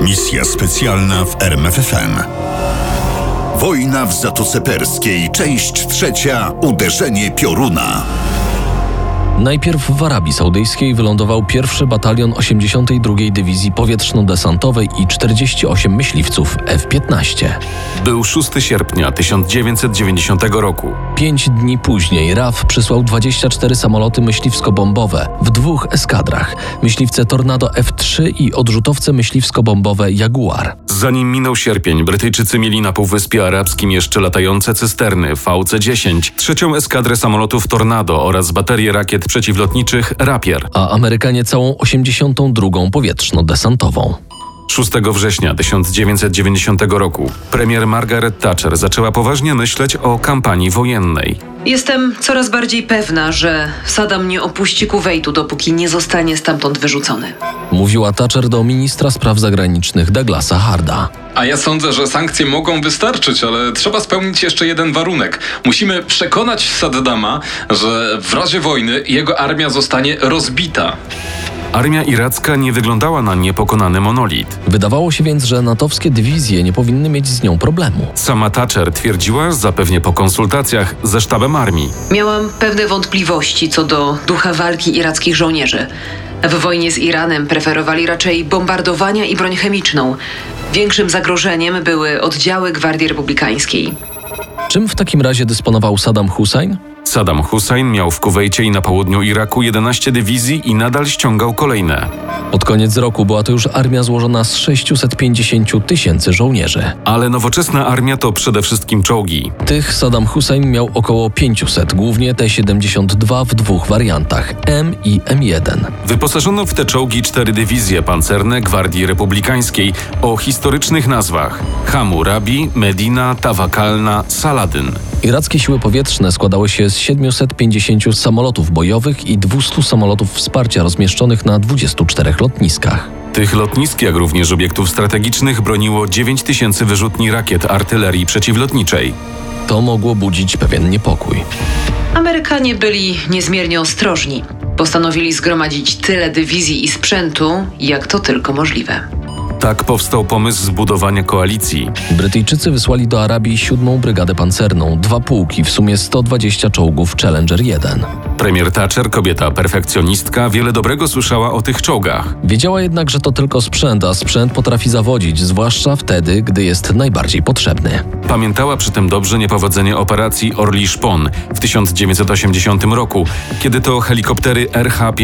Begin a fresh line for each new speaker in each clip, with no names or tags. Misja specjalna w RMFFM. Wojna w Zatoce Perskiej, część trzecia, uderzenie pioruna.
Najpierw w Arabii Saudyjskiej wylądował pierwszy batalion 82. Dywizji Powietrzno-Desantowej i 48 myśliwców F-15.
Był 6 sierpnia 1990 roku.
Pięć dni później RAF przysłał 24 samoloty myśliwsko-bombowe w dwóch eskadrach. Myśliwce Tornado F-3 i odrzutowce myśliwsko-bombowe Jaguar.
Zanim minął sierpień, Brytyjczycy mieli na Półwyspie Arabskim jeszcze latające cysterny VC-10, trzecią eskadrę samolotów Tornado oraz baterie rakiet przeciwlotniczych Rapier.
a Amerykanie całą 82. powietrzno-desantową.
6 września 1990 roku premier Margaret Thatcher zaczęła poważnie myśleć o kampanii wojennej.
Jestem coraz bardziej pewna, że Saddam nie opuści Kuwejtu, dopóki nie zostanie stamtąd wyrzucony.
Mówiła Thatcher do ministra spraw zagranicznych Douglasa Harda.
A ja sądzę, że sankcje mogą wystarczyć, ale trzeba spełnić jeszcze jeden warunek. Musimy przekonać Saddama, że w razie wojny jego armia zostanie rozbita.
Armia iracka nie wyglądała na niepokonany monolit.
Wydawało się więc, że natowskie dywizje nie powinny mieć z nią problemu.
Sama Thatcher twierdziła, zapewnie po konsultacjach ze sztabem armii,
Miałam pewne wątpliwości co do ducha walki irackich żołnierzy. W wojnie z Iranem preferowali raczej bombardowania i broń chemiczną. Większym zagrożeniem były oddziały Gwardii Republikańskiej.
Czym w takim razie dysponował Saddam Hussein?
Saddam Hussein miał w Kuwejcie i na południu Iraku 11 dywizji i nadal ściągał kolejne.
Pod koniec roku była to już armia złożona z 650 000 tysięcy żołnierzy.
Ale nowoczesna armia to przede wszystkim czołgi.
Tych Saddam Hussein miał około 500, głównie T-72 w dwóch wariantach M i M1.
Wyposażono w te czołgi cztery dywizje pancerne Gwardii Republikańskiej o historycznych nazwach Hammurabi, Medina, Tawakalna, Saladin.
Irackie siły powietrzne składały się z 750 samolotów bojowych i 200 samolotów wsparcia rozmieszczonych na 24 lotniskach.
Tych lotnisk, jak również obiektów strategicznych, broniło 9 tysięcy wyrzutni rakiet artylerii przeciwlotniczej.
To mogło budzić pewien niepokój.
Amerykanie byli niezmiernie ostrożni. Postanowili zgromadzić tyle dywizji i sprzętu, jak to tylko możliwe.
Tak powstał pomysł zbudowania koalicji.
Brytyjczycy wysłali do Arabii 7 Brygadę Pancerną, dwa pułki, w sumie 120 czołgów Challenger 1.
Premier Thatcher, kobieta perfekcjonistka, wiele dobrego słyszała o tych czołgach.
Wiedziała jednak, że to tylko sprzęt, a sprzęt potrafi zawodzić, zwłaszcza wtedy, gdy jest najbardziej potrzebny.
Pamiętała przy tym dobrze niepowodzenie operacji Orli Szpon w 1980 roku, kiedy to helikoptery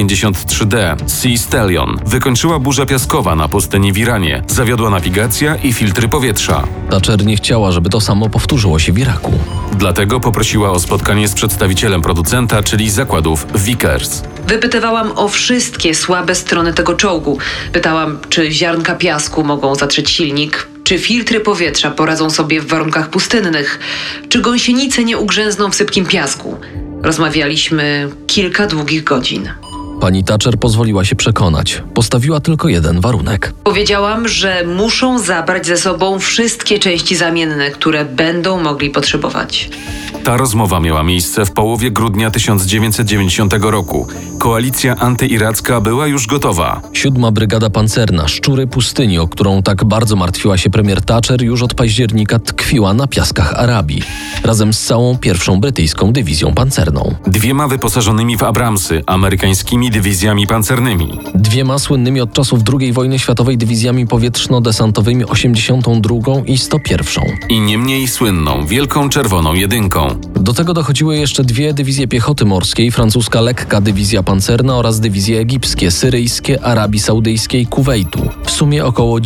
RH-53D Sea Stallion wykończyła burza piaskowa na pustyni w Iranie, zawiodła nawigacja i filtry powietrza.
Thatcher nie chciała, żeby to samo powtórzyło się w Iraku.
Dlatego poprosiła o spotkanie z przedstawicielem producenta, czyli zakładów Vickers.
Wypytywałam o wszystkie słabe strony tego czołgu. Pytałam, czy ziarnka piasku mogą zatrzeć silnik, czy filtry powietrza poradzą sobie w warunkach pustynnych, czy gąsienice nie ugrzęzną w sypkim piasku. Rozmawialiśmy kilka długich godzin.
Pani Thatcher pozwoliła się przekonać. Postawiła tylko jeden warunek.
Powiedziałam, że muszą zabrać ze sobą wszystkie części zamienne, które będą mogli potrzebować.
Ta rozmowa miała miejsce w połowie grudnia 1990 roku. Koalicja antyiracka była już gotowa.
Siódma Brygada Pancerna Szczury Pustyni, o którą tak bardzo martwiła się premier Thatcher, już od października tkwiła na piaskach Arabii, razem z całą pierwszą brytyjską dywizją pancerną.
Dwiema wyposażonymi w Abramsy, amerykańskimi dywizjami pancernymi.
Dwiema słynnymi od czasów II wojny światowej dywizjami powietrzno-desantowymi 82 i 101.
i nie mniej słynną Wielką Czerwoną Jedynką.
Do tego dochodziły jeszcze dwie dywizje piechoty morskiej, francuska lekka dywizja pancerna oraz dywizje egipskie, syryjskie, Arabii Saudyjskiej, Kuwejtu. W sumie około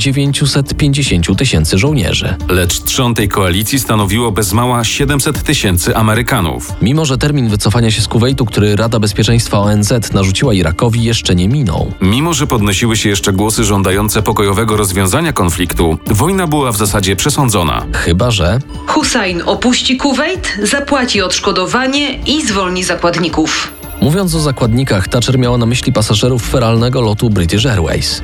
950 000 tysięcy żołnierzy.
Lecz trzon tej koalicji stanowiło bez mała 700 tysięcy Amerykanów.
Mimo, że termin wycofania się z Kuwejtu, który Rada Bezpieczeństwa ONZ narzuciła Irakowi, jeszcze nie minął.
Mimo, że podnosiły się jeszcze głosy żądające pokojowego rozwiązania konfliktu, wojna była w zasadzie przesądzona.
Chyba, że
Hussein opuści Kuwejt, zapłaci odszkodowanie i zwolni zakładników.
Mówiąc o zakładnikach, Thatcher miała na myśli pasażerów feralnego lotu British Airways.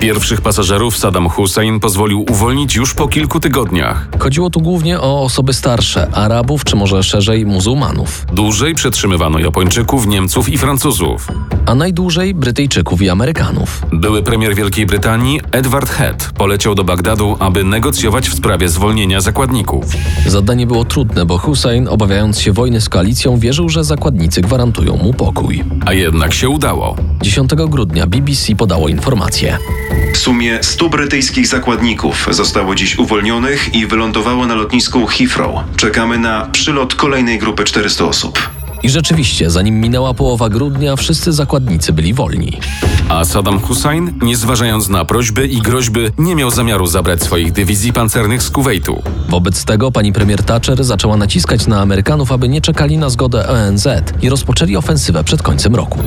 Pierwszych pasażerów Saddam Hussein pozwolił uwolnić już po kilku tygodniach.
Chodziło tu głównie o osoby starsze, Arabów czy może szerzej muzułmanów,
Dłużej przetrzymywano Japończyków, Niemców i Francuzów.
a najdłużej Brytyjczyków i Amerykanów.
Były premier Wielkiej Brytanii Edward Head poleciał do Bagdadu, aby negocjować w sprawie zwolnienia zakładników.
Zadanie było trudne, bo Hussein, obawiając się wojny z koalicją, wierzył, że zakładnicy gwarantują mu pokój.
A jednak się udało.
10 grudnia BBC podało informację.
W sumie 100 brytyjskich zakładników zostało dziś uwolnionych i wylądowało na lotnisku Heathrow. Czekamy na przylot kolejnej grupy 400 osób.
I rzeczywiście, zanim minęła połowa grudnia, wszyscy zakładnicy byli wolni.
A Saddam Hussein, nie zważając na prośby i groźby, nie miał zamiaru zabrać swoich dywizji pancernych z Kuwejtu.
Wobec tego pani premier Thatcher zaczęła naciskać na Amerykanów, aby nie czekali na zgodę ONZ i rozpoczęli ofensywę przed końcem roku.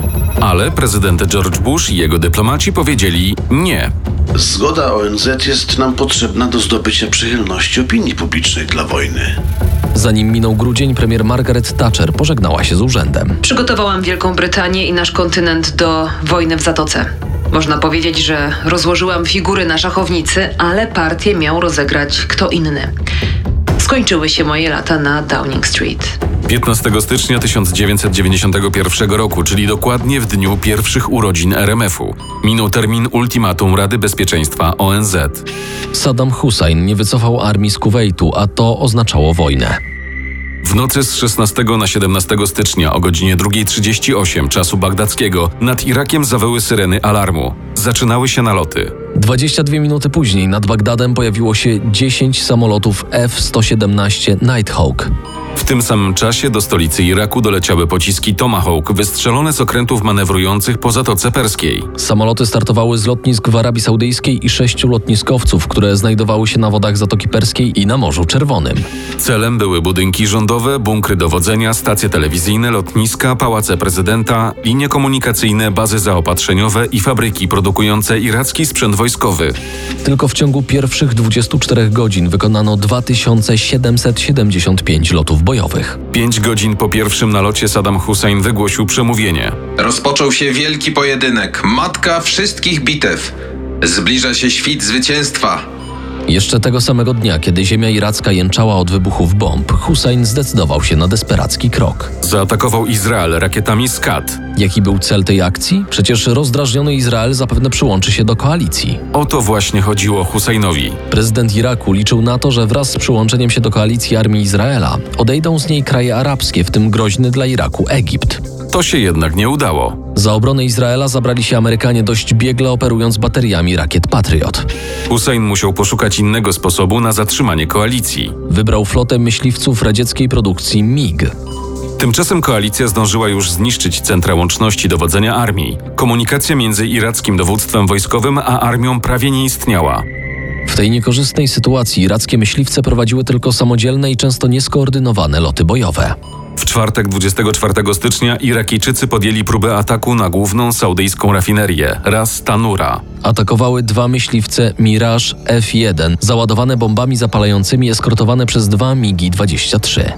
Ale prezydent George Bush i jego dyplomaci powiedzieli nie.
Zgoda ONZ jest nam potrzebna do zdobycia przychylności opinii publicznej dla wojny.
Zanim minął grudzień, premier Margaret Thatcher pożegnała się z urzędem.
Przygotowałam Wielką Brytanię i nasz kontynent do wojny w Zatoce. Można powiedzieć, że rozłożyłam figury na szachownicy, ale partię miał rozegrać kto inny. Skończyły się moje lata na Downing Street.
15 stycznia 1991 roku, czyli dokładnie w dniu pierwszych urodzin RMF-u, minął termin ultimatum Rady Bezpieczeństwa ONZ.
Saddam Hussein nie wycofał armii z Kuwejtu, a to oznaczało wojnę.
W nocy z 16 na 17 stycznia o godzinie 2.38 czasu bagdackiego nad Irakiem zawyły syreny alarmu. Zaczynały się naloty.
22 minuty później nad Bagdadem pojawiło się 10 samolotów F-117 Nighthawk.
W tym samym czasie do stolicy Iraku doleciały pociski Tomahawk wystrzelone z okrętów manewrujących po Zatoce Perskiej.
Samoloty startowały z lotnisk w Arabii Saudyjskiej i sześciu lotniskowców, które znajdowały się na wodach Zatoki Perskiej i na Morzu Czerwonym.
Celem były budynki rządowe, bunkry dowodzenia, stacje telewizyjne, lotniska, pałace prezydenta, linie komunikacyjne, bazy zaopatrzeniowe i fabryki produkujące iracki sprzęt wojskowy.
Tylko w ciągu pierwszych 24 godzin wykonano 2775 lotów bojowych.
Pięć godzin po pierwszym nalocie Saddam Hussein wygłosił przemówienie.
Rozpoczął się wielki pojedynek, matka wszystkich bitew. Zbliża się świt zwycięstwa.
Jeszcze tego samego dnia, kiedy ziemia iracka jęczała od wybuchów bomb, Hussein zdecydował się na desperacki krok.
Zaatakował Izrael rakietami Skat.
Jaki był cel tej akcji? Przecież rozdrażniony Izrael zapewne przyłączy się do koalicji.
O to właśnie chodziło Husseinowi.
Prezydent Iraku liczył na to, że wraz z przyłączeniem się do koalicji armii Izraela odejdą z niej kraje arabskie, w tym groźny dla Iraku Egipt.
To się jednak nie udało.
Za obronę Izraela zabrali się Amerykanie dość biegle operując bateriami rakiet Patriot.
Hussein musiał poszukać innego sposobu na zatrzymanie koalicji.
Wybrał flotę myśliwców radzieckiej produkcji MiG.
Tymczasem koalicja zdążyła już zniszczyć centra łączności dowodzenia armii. Komunikacja między irackim dowództwem wojskowym a armią prawie nie istniała.
W tej niekorzystnej sytuacji irackie myśliwce prowadziły tylko samodzielne i często nieskoordynowane loty bojowe.
W czwartek 24 stycznia Irakijczycy podjęli próbę ataku na główną saudyjską rafinerię Ras Tanura.
Atakowały dwa myśliwce Mirage F-1, załadowane bombami zapalającymi, eskortowane przez dwa MiGi-23.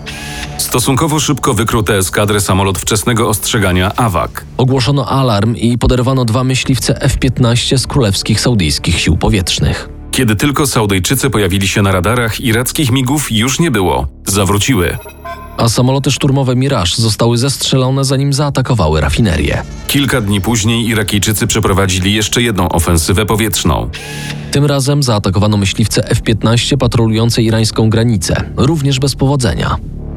Stosunkowo szybko wykryto eskadrę samolot wczesnego ostrzegania AWAC.
Ogłoszono alarm i poderwano dwa myśliwce F-15 z Królewskich Saudyjskich Sił Powietrznych.
Kiedy tylko Saudyjczycy pojawili się na radarach, irackich migów już nie było. Zawróciły.
A samoloty szturmowe Mirage zostały zestrzelone, zanim zaatakowały rafinerię.
Kilka dni później Irakijczycy przeprowadzili jeszcze jedną ofensywę powietrzną.
Tym razem zaatakowano myśliwce F-15 patrolujące irańską granicę, również bez powodzenia.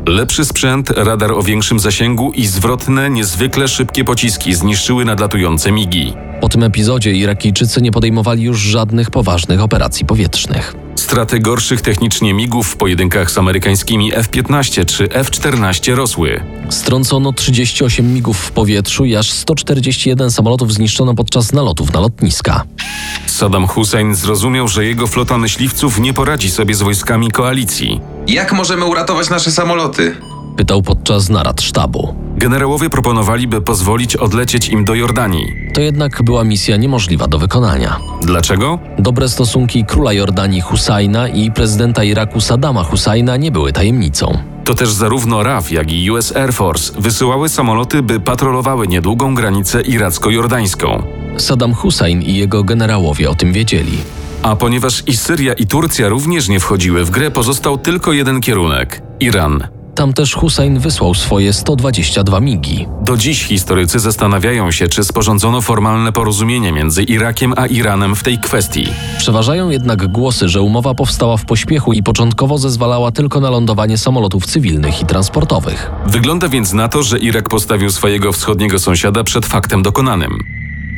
Lepszy sprzęt, radar o większym zasięgu i zwrotne, niezwykle szybkie pociski zniszczyły nadlatujące migi.
Po tym epizodzie Irakijczycy nie podejmowali już żadnych poważnych operacji powietrznych.
Straty gorszych technicznie migów w pojedynkach z amerykańskimi F-15 czy F-14 rosły.
Strącono 38 migów w powietrzu i aż 141 samolotów zniszczono podczas nalotów na lotniska.
Saddam Hussein zrozumiał, że jego flota myśliwców nie poradzi sobie z wojskami koalicji.
Jak możemy uratować nasze samoloty?
Pytał podczas narad sztabu.
Generałowie proponowali, by pozwolić odlecieć im do Jordanii.
To jednak była misja niemożliwa do wykonania.
Dlaczego?
Dobre stosunki króla Jordanii Husajna i prezydenta Iraku Saddama Husajna nie były tajemnicą.
To też zarówno RAF, jak i US Air Force wysyłały samoloty, by patrolowały niedługą granicę iracko-jordańską.
Saddam Hussein i jego generałowie o tym wiedzieli.
A ponieważ i Syria, i Turcja również nie wchodziły w grę, pozostał tylko jeden kierunek Iran.
Tam też Hussein wysłał swoje 122 migi.
Do dziś historycy zastanawiają się, czy sporządzono formalne porozumienie między Irakiem a Iranem w tej kwestii.
Przeważają jednak głosy, że umowa powstała w pośpiechu i początkowo zezwalała tylko na lądowanie samolotów cywilnych i transportowych.
Wygląda więc na to, że Irak postawił swojego wschodniego sąsiada przed faktem dokonanym.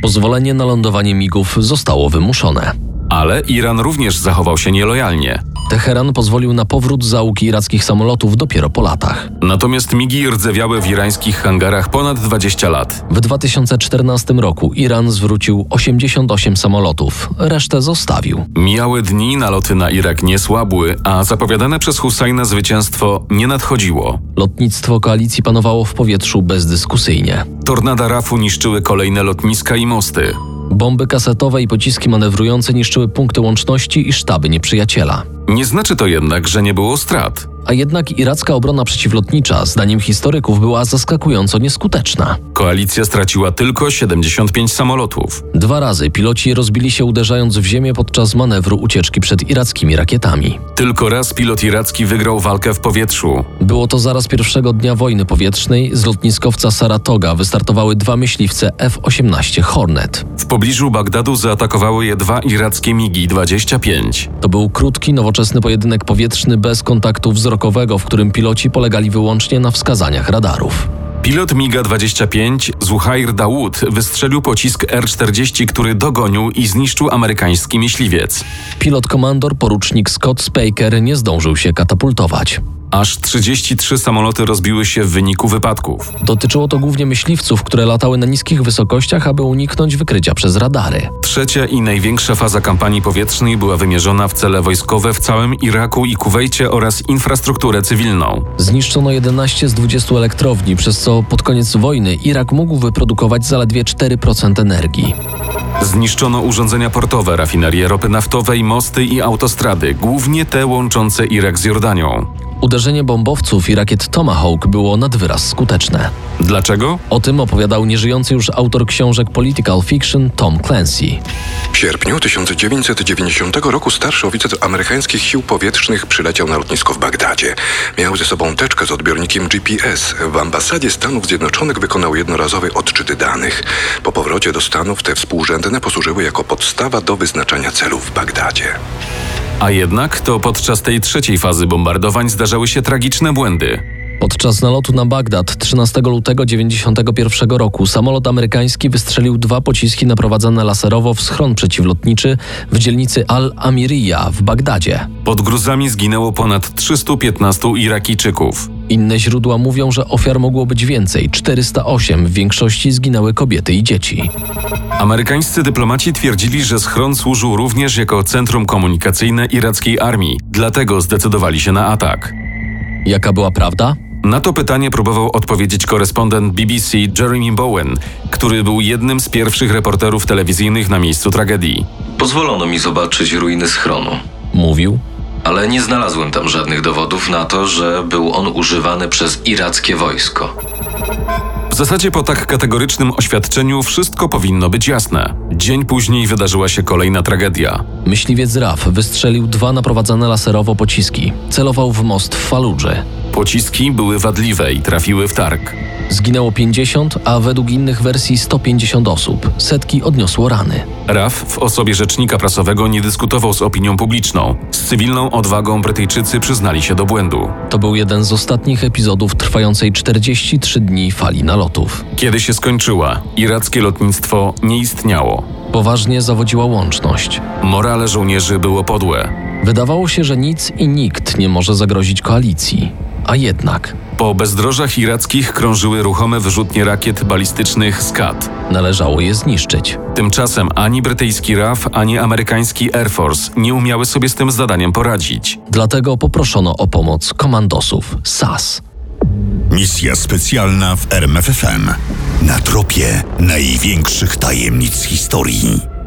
Pozwolenie na lądowanie migów zostało wymuszone.
Ale Iran również zachował się nielojalnie.
Teheran pozwolił na powrót załóg irackich samolotów dopiero po latach.
Natomiast migi rdzewiały w irańskich hangarach ponad 20 lat.
W 2014 roku Iran zwrócił 88 samolotów, resztę zostawił.
Mijały dni, naloty na Irak nie słabły, a zapowiadane przez Husajna zwycięstwo nie nadchodziło.
Lotnictwo koalicji panowało w powietrzu bezdyskusyjnie.
Tornada RAF-u niszczyły kolejne lotniska i mosty.
Bomby kasetowe i pociski manewrujące niszczyły punkty łączności i sztaby nieprzyjaciela.
Nie znaczy to jednak, że nie było strat.
A jednak iracka obrona przeciwlotnicza, zdaniem historyków, była zaskakująco nieskuteczna.
Koalicja straciła tylko 75 samolotów.
Dwa razy piloci rozbili się uderzając w ziemię podczas manewru ucieczki przed irackimi rakietami.
Tylko raz pilot iracki wygrał walkę w powietrzu.
Było to zaraz pierwszego dnia wojny powietrznej. Z lotniskowca Saratoga wystartowały dwa myśliwce F-18 Hornet.
W pobliżu Bagdadu zaatakowały je dwa irackie MIGI-25.
To był krótki, nowoczesny pojedynek powietrzny bez kontaktu wzrokowego, w którym piloci polegali wyłącznie na wskazaniach radarów.
Pilot MIGA-25 Zuhair Dawood wystrzelił pocisk R-40, który dogonił i zniszczył amerykański myśliwiec.
Pilot komandor porucznik Scott Spaker nie zdążył się katapultować.
Aż 33 samoloty rozbiły się w wyniku wypadków.
Dotyczyło to głównie myśliwców, które latały na niskich wysokościach, aby uniknąć wykrycia przez radary.
Trzecia i największa faza kampanii powietrznej była wymierzona w cele wojskowe w całym Iraku i Kuwejcie oraz infrastrukturę cywilną.
Zniszczono 11 z 20 elektrowni, przez co pod koniec wojny Irak mógł wyprodukować zaledwie 4% energii.
Zniszczono urządzenia portowe, rafinerie ropy naftowej, mosty i autostrady, głównie te łączące Irak z Jordanią.
Uderzenie bombowców i rakiet Tomahawk było nad wyraz skuteczne.
Dlaczego?
O tym opowiadał nieżyjący już autor książek Political Fiction Tom Clancy.
W sierpniu 1990 roku starszy oficer amerykańskich sił powietrznych przyleciał na lotnisko w Bagdadzie. Miał ze sobą teczkę z odbiornikiem GPS. W ambasadzie Stanów Zjednoczonych wykonał jednorazowe odczyty danych. Po powrocie do Stanów te współrzędne posłużyły jako podstawa do wyznaczania celów w Bagdadzie.
A jednak to podczas tej trzeciej fazy bombardowań zdarzały się tragiczne błędy.
Podczas nalotu na Bagdad 13 lutego 1991 roku samolot amerykański wystrzelił dwa pociski naprowadzane laserowo w schron przeciwlotniczy w dzielnicy Al-Amiriya w Bagdadzie.
Pod gruzami zginęło ponad 315 Irakijczyków.
Inne źródła mówią, że ofiar mogło być więcej 408 w większości zginęły kobiety i dzieci.
Amerykańscy dyplomaci twierdzili, że schron służył również jako centrum komunikacyjne irackiej armii, dlatego zdecydowali się na atak.
Jaka była prawda?
Na to pytanie próbował odpowiedzieć korespondent BBC Jeremy Bowen, który był jednym z pierwszych reporterów telewizyjnych na miejscu tragedii.
Pozwolono mi zobaczyć ruiny schronu,
Mówił.
ale nie znalazłem tam żadnych dowodów na to, że był on używany przez irackie wojsko.
W zasadzie po tak kategorycznym oświadczeniu wszystko powinno być jasne. Dzień później wydarzyła się kolejna tragedia.
Myśliwiec RAF wystrzelił dwa naprowadzane laserowo pociski. Celował w most w Faludży.
Pociski były wadliwe i trafiły w targ.
Zginęło 50, a według innych wersji 150 osób. Setki odniosło rany.
RAF w osobie rzecznika prasowego nie dyskutował z opinią publiczną. Z cywilną odwagą Brytyjczycy przyznali się do błędu.
To był jeden z ostatnich epizodów trwającej 43 dni fali nalotów.
Kiedy się skończyła, irackie lotnictwo nie istniało.
Poważnie zawodziła łączność.
Morale żołnierzy było podłe.
Wydawało się, że nic i nikt nie może zagrozić koalicji. A jednak
Po bezdrożach irackich krążyły ruchome wyrzutnie rakiet balistycznych SCAD.
należało je zniszczyć.
Tymczasem ani brytyjski RAF, ani amerykański Air Force nie umiały sobie z tym zadaniem poradzić.
Dlatego poproszono o pomoc komandosów SAS.
Misja specjalna w RMFFM. Na tropie największych tajemnic historii.